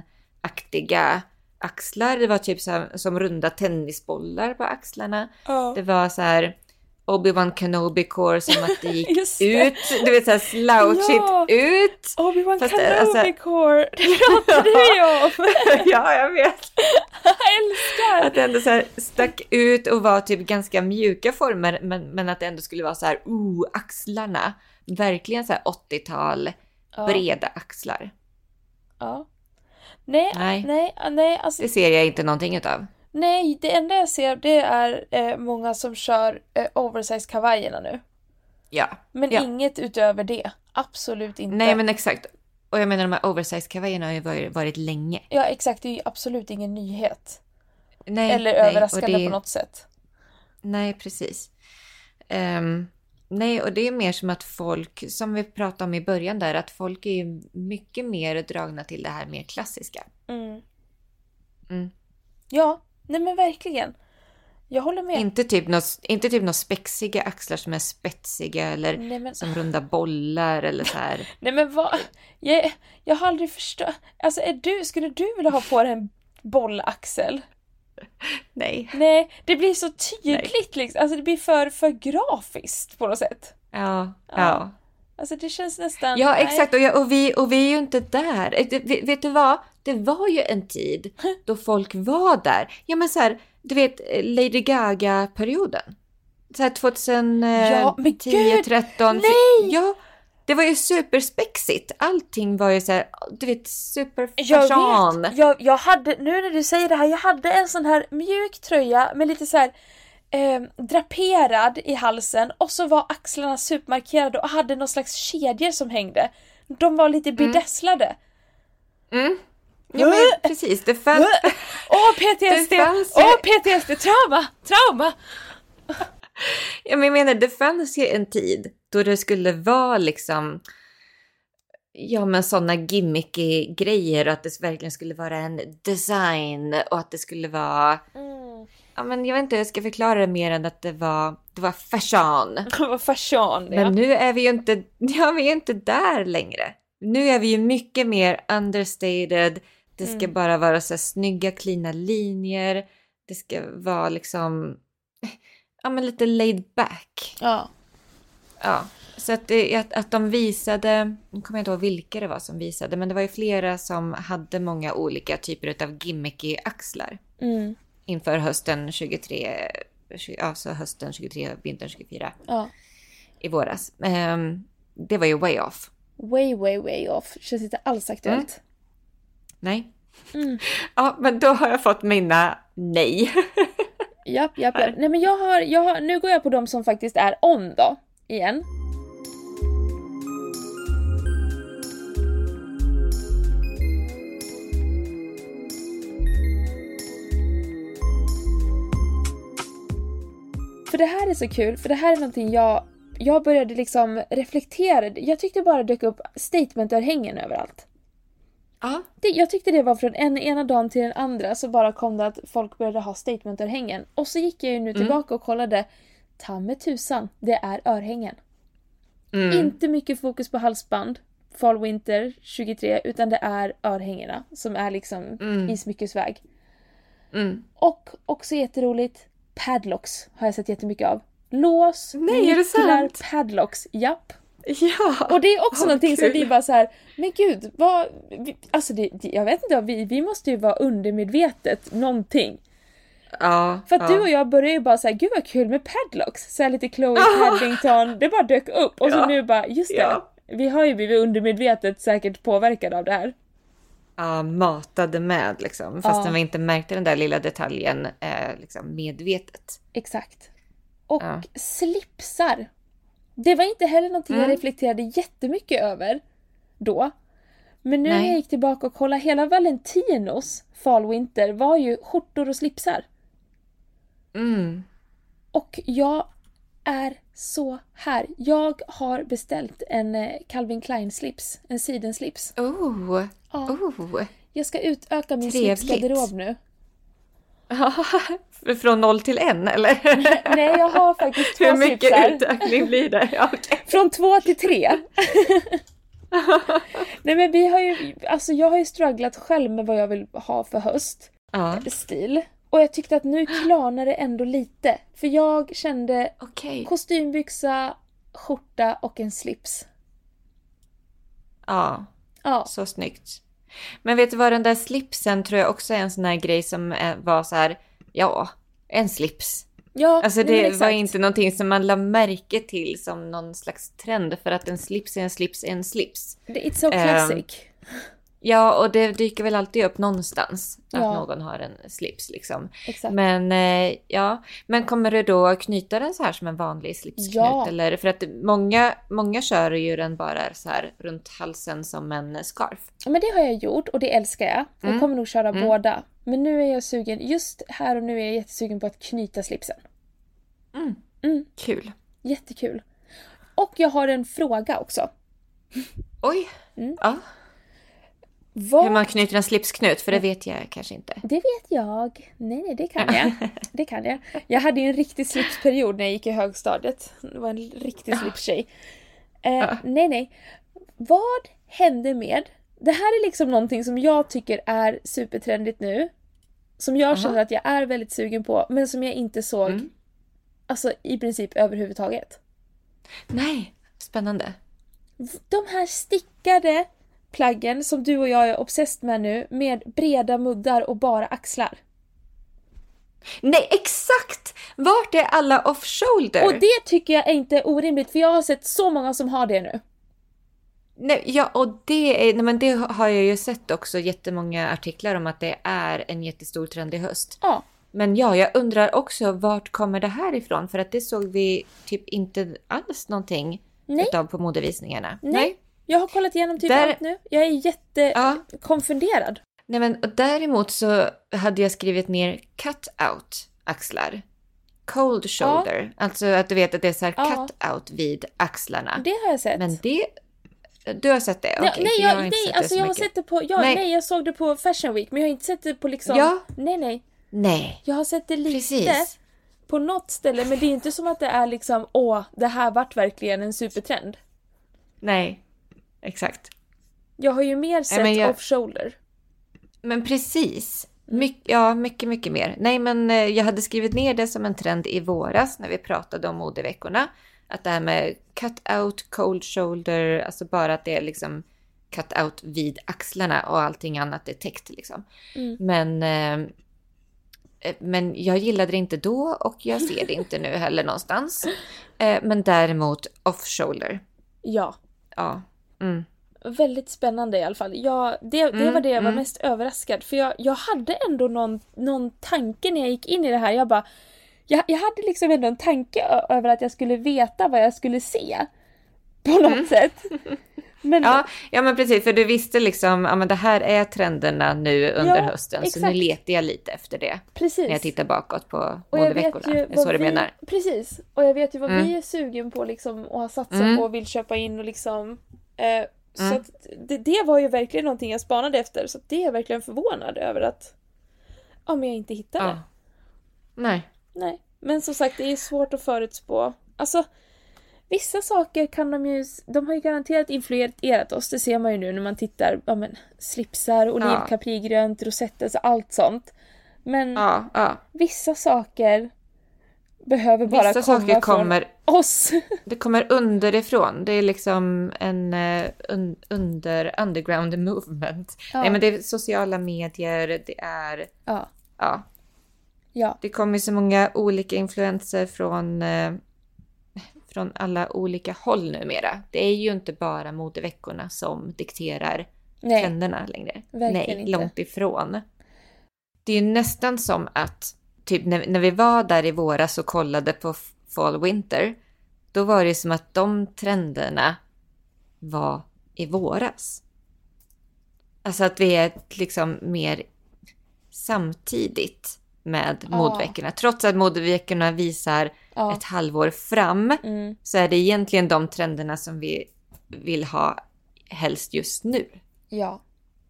Speaker 2: Balmain-aktiga axlar. Det var typ så här, som runda tennisbollar på axlarna.
Speaker 1: ja.
Speaker 2: Det var så här Obi-Wan Kenobi core som att det gick
Speaker 1: Just det.
Speaker 2: ut, du vet såhär slouchigt
Speaker 1: Ja.
Speaker 2: ut.
Speaker 1: Obi-Wan
Speaker 2: Fast,
Speaker 1: Kenobi
Speaker 2: alltså-
Speaker 1: core. Det pratade vi om.
Speaker 2: ja, jag vet.
Speaker 1: Jag älskar.
Speaker 2: Att det ändå så här stack ut och var typ ganska mjuka former men, men att det ändå skulle vara så här, oh, axlarna. Verkligen så här 80-tal,
Speaker 1: Ja.
Speaker 2: breda axlar.
Speaker 1: ja. Nej,
Speaker 2: Nej.
Speaker 1: nej, nej, alltså
Speaker 2: Det ser jag inte någonting utav.
Speaker 1: Nej, det enda jag ser det är eh, många som kör eh, oversize kavajerna nu.
Speaker 2: Ja.
Speaker 1: Men
Speaker 2: Ja.
Speaker 1: inget utöver det. Absolut inte.
Speaker 2: Nej men exakt. Och jag menar de här oversize kavajerna har ju varit, varit länge.
Speaker 1: Ja, exakt. Det är ju absolut ingen nyhet.
Speaker 2: Nej,
Speaker 1: Eller
Speaker 2: nej, och
Speaker 1: överraskande
Speaker 2: det-
Speaker 1: på något sätt.
Speaker 2: Nej, precis. Ehm, nej, och det är mer som att folk, som vi pratade om i början där, att folk är ju mycket mer dragna till det här mer klassiska.
Speaker 1: Mm.
Speaker 2: Mm.
Speaker 1: Ja, nej men verkligen. Jag håller med.
Speaker 2: Inte typ något, inte typ något spexiga axlar som är spetsiga eller
Speaker 1: Nej men,
Speaker 2: som runda bollar eller så här.
Speaker 1: nej men vad? Jag, jag har aldrig förstått. Alltså är du, skulle du vilja ha på dig en bollaxel?
Speaker 2: Nej.
Speaker 1: Nej, det blir så tydligt liksom. Alltså det blir för, för grafiskt på något sätt.
Speaker 2: Ja,
Speaker 1: Ja.
Speaker 2: ja.
Speaker 1: Alltså det känns nästan...
Speaker 2: Ja,
Speaker 1: nej.
Speaker 2: exakt. Och, jag, och, vi, och vi är ju inte där. Eh, det- vi- Vet du vad? Det var ju en tid då folk var där. Ja, men så här, du vet eh, Lady Gaga-perioden. Så här 2010,
Speaker 1: Ja, men gud!
Speaker 2: 13.
Speaker 1: Nej!
Speaker 2: fy- Ja, det var ju superspexigt. Allting var ju så här, du vet,
Speaker 1: Jag
Speaker 2: superfashion.
Speaker 1: vet. Jag, jag hade, nu när du säger det här, jag hade en sån här mjuk tröja med lite så här eh, draperad i halsen och så var axlarna supermarkerade och hade någon slags kedjor som hängde. De var lite bedesslade.
Speaker 2: Mm. Ja, men precis. Det fanns...
Speaker 1: Åh PTSD!
Speaker 2: Det fanns ju-
Speaker 1: Åh PTSD! Trauma! Trauma!
Speaker 2: Ja, men jag menar, det fanns ju en tid då det skulle vara liksom, ja men sådana gimmicky grejer och att det verkligen skulle vara en design och att det skulle vara, ja men jag vet inte hur jag ska förklara det mer än att det var, det var fashion.
Speaker 1: Vad fashion
Speaker 2: Men
Speaker 1: ja.
Speaker 2: nu är vi ju inte, ja vi är inte där längre. Nu är vi ju mycket mer understated, det ska
Speaker 1: Mm.
Speaker 2: bara vara så här snygga, cleana linjer, det ska vara liksom, ja men lite laid back.
Speaker 1: ja.
Speaker 2: Ja, så att, det, att, att de visade, nu kommer jag inte ihåg vilka det var som visade, men det var ju flera som hade många olika typer av gimmicky axlar
Speaker 1: Mm.
Speaker 2: inför hösten 23, tju- alltså hösten 23, vintern 24
Speaker 1: ja.
Speaker 2: i våras. Ehm, det var ju way off.
Speaker 1: Way way way off. Känns inte alls
Speaker 2: Mm.
Speaker 1: aktuellt.
Speaker 2: Nej.
Speaker 1: Mm.
Speaker 2: Ja, men då har jag fått mina nej.
Speaker 1: Japp, japp, japp.
Speaker 2: Här.
Speaker 1: Nej men jag har, jag har, nu går jag på de som faktiskt är on då. Igen. För det här är så kul, för det här är någonting jag, jag började liksom reflektera. Jag tyckte bara dök upp statementörhängen överallt.
Speaker 2: Ja,
Speaker 1: Det, jag tyckte det var från en, ena dagen till den andra så bara kom det att folk började ha statementörhängen. Och så gick jag ju
Speaker 2: Mm.
Speaker 1: nu tillbaka och kollade. Ta med tusan, det är örhängen.
Speaker 2: mm.
Speaker 1: Inte mycket fokus på halsband, Fall Winter 23, utan det är örhängena som är liksom
Speaker 2: Mm.
Speaker 1: i smyckesväg.
Speaker 2: Mm.
Speaker 1: Och också jätteroligt, padlocks har jag sett jättemycket av. Lås,
Speaker 2: Nej, är det sant?
Speaker 1: padlocks, japp.
Speaker 2: Ja!
Speaker 1: Och det är också
Speaker 2: Vad
Speaker 1: någonting som
Speaker 2: kul.
Speaker 1: vi bara så här, men gud, vad, vi, alltså det, det- jag vet inte, vi, vi måste ju vara undermedvetet någonting.
Speaker 2: ja
Speaker 1: För att
Speaker 2: ja.
Speaker 1: du och jag började ju bara säga gud vad kul med padlocks, så här lite Chloe
Speaker 2: Ja.
Speaker 1: Paddington, det bara dök upp och så
Speaker 2: Ja.
Speaker 1: nu bara, just det,
Speaker 2: Ja.
Speaker 1: vi har ju blivit undermedvetet säkert påverkade av det här.
Speaker 2: ja, matade med liksom. Fastän
Speaker 1: Ja.
Speaker 2: vi inte märkte den där lilla detaljen eh, liksom medvetet.
Speaker 1: Exakt. Och
Speaker 2: Ja.
Speaker 1: slipsar. Det var inte heller någonting
Speaker 2: Mm.
Speaker 1: jag reflekterade jättemycket över då. Men nu när
Speaker 2: Nej.
Speaker 1: jag gick tillbaka och kollade, hela Valentinos Fall Winter var ju skjortor och slipsar.
Speaker 2: Mm.
Speaker 1: Och jag är så här. Jag har beställt en eh, Calvin Klein-slips, en sidenslips.
Speaker 2: Oh,
Speaker 1: Ja,
Speaker 2: oh.
Speaker 1: jag ska utöka min
Speaker 2: Trevligt.
Speaker 1: slipsgarderob nu.
Speaker 2: Från noll till en eller?
Speaker 1: Nej, jag har faktiskt två
Speaker 2: Hur mycket
Speaker 1: slipsar.
Speaker 2: utökning blir det? Ja, okej.
Speaker 1: Från två till tre. Nej men vi har ju, alltså jag har ju strugglat själv med vad jag vill ha för höststil.
Speaker 2: Ja,
Speaker 1: Och jag tyckte att nu klarnar det ändå lite. För jag kände
Speaker 2: okej.
Speaker 1: kostymbyxa, skjorta och en slips.
Speaker 2: Ja,
Speaker 1: Ja.
Speaker 2: så snyggt. Men vet du vad, den där slipsen tror jag också är en sån här grej som eh, var så här, ja, en slips.
Speaker 1: ja
Speaker 2: Alltså
Speaker 1: nej, men
Speaker 2: det var
Speaker 1: exakt.
Speaker 2: inte någonting som man la märke till som någon slags trend för att en slips är en slips är en slips.
Speaker 1: It's so
Speaker 2: Ehm,
Speaker 1: classic.
Speaker 2: Ja, och det dyker väl alltid upp någonstans
Speaker 1: Ja.
Speaker 2: att någon har en slips liksom.
Speaker 1: exakt.
Speaker 2: Men eh, ja, men kommer du då knyta den så här som en vanlig slipsknut?
Speaker 1: Ja.
Speaker 2: Eller för att många, många kör ju den bara så här runt halsen som en scarf.
Speaker 1: Ja, Men det har jag gjort och det älskar jag. Jag
Speaker 2: Mm.
Speaker 1: kommer nog köra
Speaker 2: Mm.
Speaker 1: båda. Men nu är jag sugen, just här och nu är jag jättesugen på att knyta slipsen.
Speaker 2: Mm.
Speaker 1: Mm.
Speaker 2: Kul.
Speaker 1: Jättekul. Och jag har en fråga också.
Speaker 2: Oj!
Speaker 1: Mm.
Speaker 2: Ja.
Speaker 1: Vad...
Speaker 2: Hur man knyter en slipsknut, för det vet jag kanske inte.
Speaker 1: Det vet jag. Nej, nej, det kan jag. Det kan jag. Jag hade ju en riktig slipsperiod när jag gick i högstadiet. Det var en riktig slipstjej. Eh,
Speaker 2: Ja.
Speaker 1: nej, nej. Vad hände med... Det här är liksom någonting som jag tycker är supertrendigt nu. Som jag
Speaker 2: Aha.
Speaker 1: känner att jag är väldigt sugen på, men som jag inte såg
Speaker 2: Mm.
Speaker 1: alltså, i princip överhuvudtaget.
Speaker 2: Nej, spännande.
Speaker 1: De här stickade plaggen som du och jag är obsessed med nu med breda muddar och bara axlar.
Speaker 2: Nej, exakt! Vart är alla off-shoulder?
Speaker 1: Och det tycker jag är inte orimligt för jag har sett så många som har det nu.
Speaker 2: Nej, ja, och det, är, nej, men det har jag ju sett också jättemånga artiklar om att det är en jättestor trend i höst.
Speaker 1: Ja.
Speaker 2: Men ja, jag undrar också vart kommer det här ifrån? För att det såg vi typ inte alls någonting
Speaker 1: Nej.
Speaker 2: utav på modevisningarna.
Speaker 1: Nej. Jag har kollat igenom typ
Speaker 2: Där-
Speaker 1: allt nu. Jag är jättekonfunderad.
Speaker 2: Ja. Nej, men och däremot så hade jag skrivit ner cut-out axlar. Cold shoulder. Alltså att du vet att det är så här
Speaker 1: Ja.
Speaker 2: cut-out vid axlarna.
Speaker 1: Det har jag sett.
Speaker 2: Men det... Du har sett det?
Speaker 1: nej,
Speaker 2: Okej,
Speaker 1: nej,
Speaker 2: för
Speaker 1: jag,
Speaker 2: har inte
Speaker 1: nej
Speaker 2: sett det
Speaker 1: alltså
Speaker 2: så
Speaker 1: jag har
Speaker 2: mycket.
Speaker 1: sett det på, ja, nej.
Speaker 2: Nej.
Speaker 1: jag såg det på Fashion Week men jag har inte sett det på liksom,
Speaker 2: Ja.
Speaker 1: nej nej.
Speaker 2: Nej,
Speaker 1: Jag har sett det lite
Speaker 2: precis.
Speaker 1: på något ställe men det är inte som att det är liksom, åh, det här vart verkligen en supertrend.
Speaker 2: Nej, exakt.
Speaker 1: Jag har ju mer sett
Speaker 2: men jag-
Speaker 1: off-shoulder.
Speaker 2: Men precis. My- ja, mycket, mycket mer. Nej, men eh, jag hade skrivit ner det som en trend i våras när vi pratade om modeveckorna. Att det här med cut out, cold shoulder, alltså bara att det är liksom cut out vid axlarna och allting annat är täckt liksom.
Speaker 1: Mm.
Speaker 2: Men, eh, eh, men jag gillade det inte då och jag ser det inte nu heller någonstans. Eh, men däremot off shoulder.
Speaker 1: Ja.
Speaker 2: Ja. Mm.
Speaker 1: Väldigt spännande i alla fall. Jag, det, det
Speaker 2: Mm,
Speaker 1: var det jag var
Speaker 2: mm.
Speaker 1: mest överraskad för jag, jag hade ändå någon, någon tanke när jag gick in i det här. Jag bara jag, jag hade liksom ändå en tanke ö- över att jag skulle veta vad jag skulle se. På något sätt. Men
Speaker 2: Mm. Ja, ja men precis, för du visste liksom, ja men det här är trenderna nu under
Speaker 1: Ja,
Speaker 2: hösten, så
Speaker 1: exakt.
Speaker 2: nu letar jag lite efter det när jag
Speaker 1: precis.
Speaker 2: tittar bakåt på
Speaker 1: Och jag vet
Speaker 2: modeveckorna.
Speaker 1: ju
Speaker 2: Är det
Speaker 1: vad
Speaker 2: så du
Speaker 1: vi,
Speaker 2: menar?
Speaker 1: Precis. Och jag vet ju vad
Speaker 2: Mm.
Speaker 1: vi är sugen på liksom och har satsat
Speaker 2: Mm.
Speaker 1: på och vill köpa in och liksom. Eh, så
Speaker 2: Mm.
Speaker 1: att det, det var ju verkligen någonting jag spanade efter så att det är jag verkligen förvånad över att ja, men jag inte hittade.
Speaker 2: Ja. Nej.
Speaker 1: Nej, men som sagt det är svårt att förutspå. Alltså, vissa saker kan de ju... De har ju garanterat influerat oss, det ser man ju nu när man tittar. Ja men, slipsar, oliv,
Speaker 2: Ja.
Speaker 1: Mm. kaprigrönt, rosett, alltså allt sånt. Men
Speaker 2: Ja, ja.
Speaker 1: vissa saker behöver bara
Speaker 2: Vissa
Speaker 1: komma
Speaker 2: saker
Speaker 1: från
Speaker 2: kommer,
Speaker 1: oss.
Speaker 2: det kommer underifrån. Det är liksom en eh, un, under, underground movement.
Speaker 1: Ja.
Speaker 2: Nej men det är sociala medier, det är...
Speaker 1: Ja.
Speaker 2: Ja,
Speaker 1: Ja,
Speaker 2: det kommer så många olika influenser från, eh, från alla olika håll numera. Det är ju inte bara modeveckorna som dikterar
Speaker 1: nej.
Speaker 2: trenderna längre.
Speaker 1: verkligen
Speaker 2: Nej,
Speaker 1: inte.
Speaker 2: långt ifrån. Det är ju nästan som att, typ när, när vi var där i våras och kollade på f- Fall Winter, då var det ju som att de trenderna var i våras. Alltså att vi är liksom mer samtidigt med
Speaker 1: Ja.
Speaker 2: modeveckorna. Trots att modeveckorna visar
Speaker 1: Ja.
Speaker 2: ett halvår fram
Speaker 1: Mm.
Speaker 2: så är det egentligen de trenderna som vi vill ha helst just nu.
Speaker 1: ja.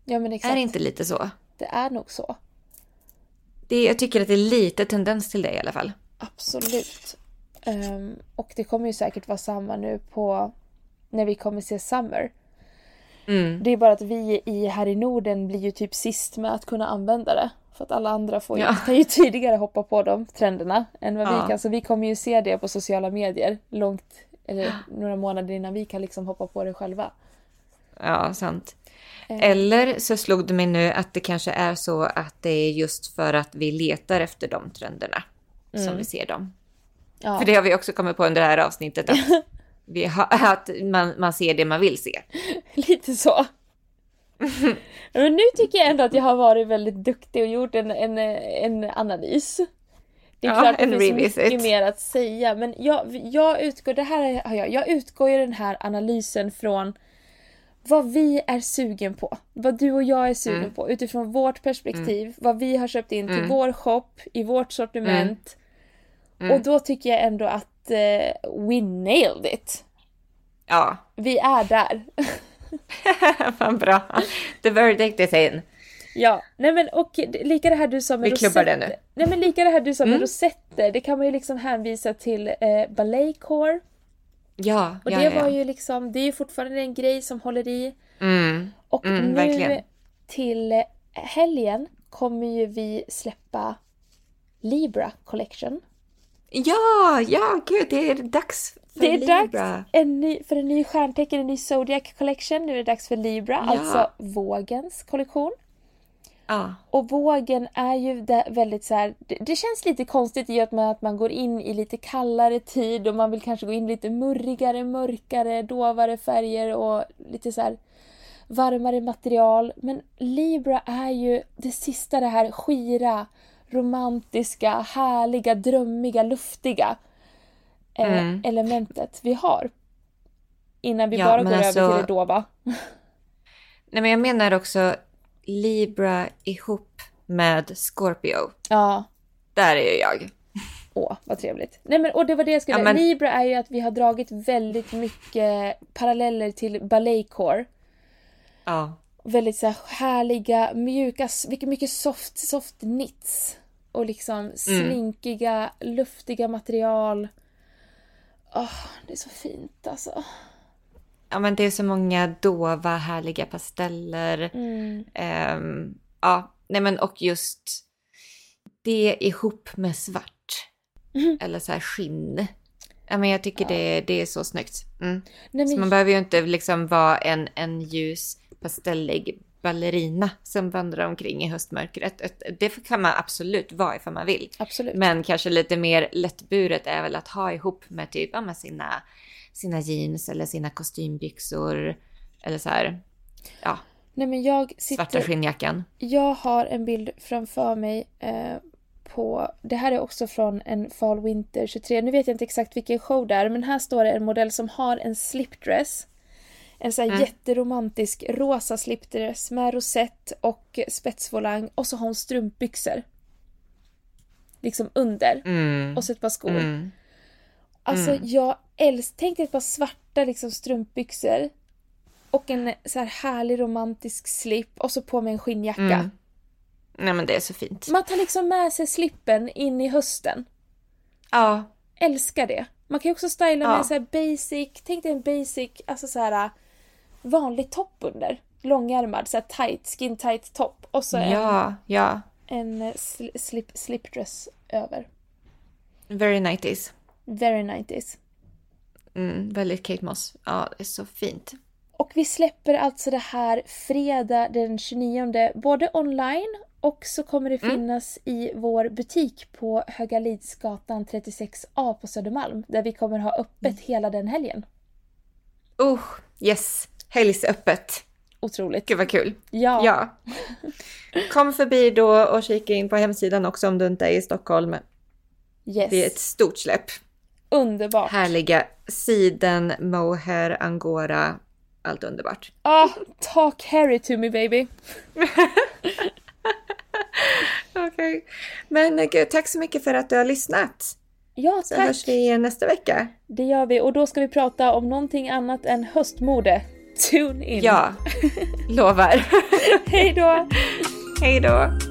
Speaker 1: Ja, men exakt.
Speaker 2: Är det inte lite så?
Speaker 1: Det är nog så.
Speaker 2: Det, jag tycker att det är lite tendens till det i alla fall.
Speaker 1: Absolut. Ehm, och det kommer ju säkert vara samma nu på när vi kommer se Summer.
Speaker 2: Mm.
Speaker 1: Det är bara att vi i, här i Norden blir ju typ sist med att kunna använda det. För att alla andra får ju,
Speaker 2: Ja.
Speaker 1: kan ju tidigare hoppa på de trenderna än vad
Speaker 2: Ja.
Speaker 1: vi kan. Så vi kommer ju se det på sociala medier långt, eller några månader innan vi kan liksom hoppa på det själva.
Speaker 2: Ja, sant.
Speaker 1: Eh.
Speaker 2: Eller så slog det mig nu att det kanske är så att det är just för att vi letar efter de trenderna som vi ser dem.
Speaker 1: Ja.
Speaker 2: För det har vi också kommit på under det här avsnittet. Att, vi har, att man, man ser det man vill se.
Speaker 1: Lite så. Men nu tycker jag ändå att jag har varit väldigt duktig och gjort en, en, en analys. Det är
Speaker 2: Ja,
Speaker 1: klart det
Speaker 2: en
Speaker 1: finns
Speaker 2: revisit.
Speaker 1: mycket mer att säga men jag, jag utgår, det här har jag, jag utgår ju den här analysen från vad vi är sugen på. Vad du och jag är sugen
Speaker 2: Mm.
Speaker 1: på utifrån vårt perspektiv. Vad vi har köpt in till
Speaker 2: Mm.
Speaker 1: vår shop, i vårt sortiment.
Speaker 2: Mm.
Speaker 1: Och då tycker jag ändå att eh, we nailed it.
Speaker 2: Ja,
Speaker 1: Vi är där.
Speaker 2: fan bra. The verdict is in.
Speaker 1: Ja, nej men och det- lika det här du sa med
Speaker 2: Vi klubbar det nu.
Speaker 1: Nej men lika det här du sa med
Speaker 2: Mm.
Speaker 1: rosetter, det kan man ju liksom hänvisa till eh, balletcore.
Speaker 2: Ja,
Speaker 1: Och
Speaker 2: ja,
Speaker 1: det
Speaker 2: ja, ja.
Speaker 1: var ju liksom, det är ju fortfarande en grej som håller i.
Speaker 2: Mm.
Speaker 1: Och
Speaker 2: Mm,
Speaker 1: nu
Speaker 2: verkligen.
Speaker 1: till eh, helgen kommer ju vi släppa Libra Collection.
Speaker 2: Ja, ja, gud, det är dags för
Speaker 1: det är
Speaker 2: Libra.
Speaker 1: dags en ny, för en ny stjärntecken, en ny Zodiac Collection. Nu är det dags för Libra,
Speaker 2: Ja.
Speaker 1: alltså vågens kollektion.
Speaker 2: Ja.
Speaker 1: Och vågen är ju där väldigt så här, det, det känns lite konstigt i och med att man går in i lite kallare tid och man vill kanske gå in lite murrigare, mörkare, dovare färger och lite så här varmare material. Men Libra är ju det sista det här skira, romantiska, härliga, drömmiga, luftiga eh,
Speaker 2: Mm.
Speaker 1: elementet vi har. Innan vi
Speaker 2: Ja,
Speaker 1: bara
Speaker 2: men
Speaker 1: går över
Speaker 2: alltså-
Speaker 1: till det dova.
Speaker 2: Nej, men jag menar också Libra ihop med Scorpio.
Speaker 1: Ja.
Speaker 2: Där är ju jag.
Speaker 1: Åh, vad trevligt. Nej men och det var det jag skulle
Speaker 2: Ja,
Speaker 1: säga.
Speaker 2: men-
Speaker 1: Libra är ju att vi har dragit väldigt mycket paralleller till balletcore.
Speaker 2: Ja.
Speaker 1: Väldigt så här härliga, mjuka, s- mycket, mycket soft, soft knits. Och
Speaker 2: Mm.
Speaker 1: liksom slinkiga, luftiga material. Åh, det är så fint alltså.
Speaker 2: ja, men det är så många dova, härliga pasteller.
Speaker 1: Mm.
Speaker 2: Ehm, ja, nej men och just det ihop med svart. Eller så här skinn. Mhm. Ja, men jag tycker det, det är så snyggt. Mm.
Speaker 1: Nej,
Speaker 2: Så
Speaker 1: men,
Speaker 2: man behöver ju inte liksom vara en, en ljus pastellig ballerina som vandrar omkring i höstmörkret. Ett- Det kan man absolut vara ifall man vill.
Speaker 1: Absolut.
Speaker 2: Men kanske lite mer lättburet är väl att ha ihop med typ ja, med sina, sina jeans eller sina kostymbyxor. Eller så här, ja,
Speaker 1: Nej men jag
Speaker 2: svarta
Speaker 1: sitter...
Speaker 2: skinnjackan.
Speaker 1: Jag har en bild framför mig eh, på, det här är också från en Fall Winter 23, nu vet jag inte exakt vilken show det är, men här står det en modell som har en slipdress. En sån här
Speaker 2: Mm.
Speaker 1: jätteromantisk rosa slipdress med rosett och spetsvolang och så har hon strumpbyxor. Liksom under.
Speaker 2: Mm.
Speaker 1: Och så ett par skor.
Speaker 2: Mm.
Speaker 1: Alltså jag älskar, tänk dig ett par svarta liksom, strumpbyxor. Och en så här härlig romantisk slip och så på med en skinnjacka.
Speaker 2: Mm. Nej men det är så fint.
Speaker 1: Man tar liksom med sig slippen in i hösten.
Speaker 2: Ja,
Speaker 1: Älskar det. Man kan ju också styla med
Speaker 2: Ja.
Speaker 1: en så här basic, tänk dig en basic, alltså så här äh, vanlig topp under. Långärmad, så här tight, skin tight topp och så en,
Speaker 2: ja, ja.
Speaker 1: en eh, sli- slip, slipdress över.
Speaker 2: Very 90s.
Speaker 1: Very 90s.
Speaker 2: Mm, väldigt Kate Moss. Ja, det är så fint.
Speaker 1: Och vi släpper alltså det här fredag den 29, både online och så kommer det finnas i vår butik på Högalidsgatan 36A på Södermalm där vi kommer ha öppet hela den helgen.
Speaker 2: Oh, yes! Helgsöppet.
Speaker 1: Otroligt.
Speaker 2: Gud vad kul.
Speaker 1: Ja.
Speaker 2: Ja. Kom förbi då och kika in på hemsidan också om du inte är i Stockholm.
Speaker 1: yes.
Speaker 2: Det är ett stort släpp.
Speaker 1: Underbart.
Speaker 2: Härliga siden, mohair, angora, allt underbart.
Speaker 1: Ah, talk Harry to me baby.
Speaker 2: Okej. Men eh, gud, tack så mycket för att du har lyssnat.
Speaker 1: Ja,
Speaker 2: Så
Speaker 1: tack.
Speaker 2: hörs vi igen nästa vecka.
Speaker 1: Det gör vi och då ska vi prata om någonting annat än höstmode. Tune in.
Speaker 2: Ja, lovar.
Speaker 1: Hej då!
Speaker 2: Hej då.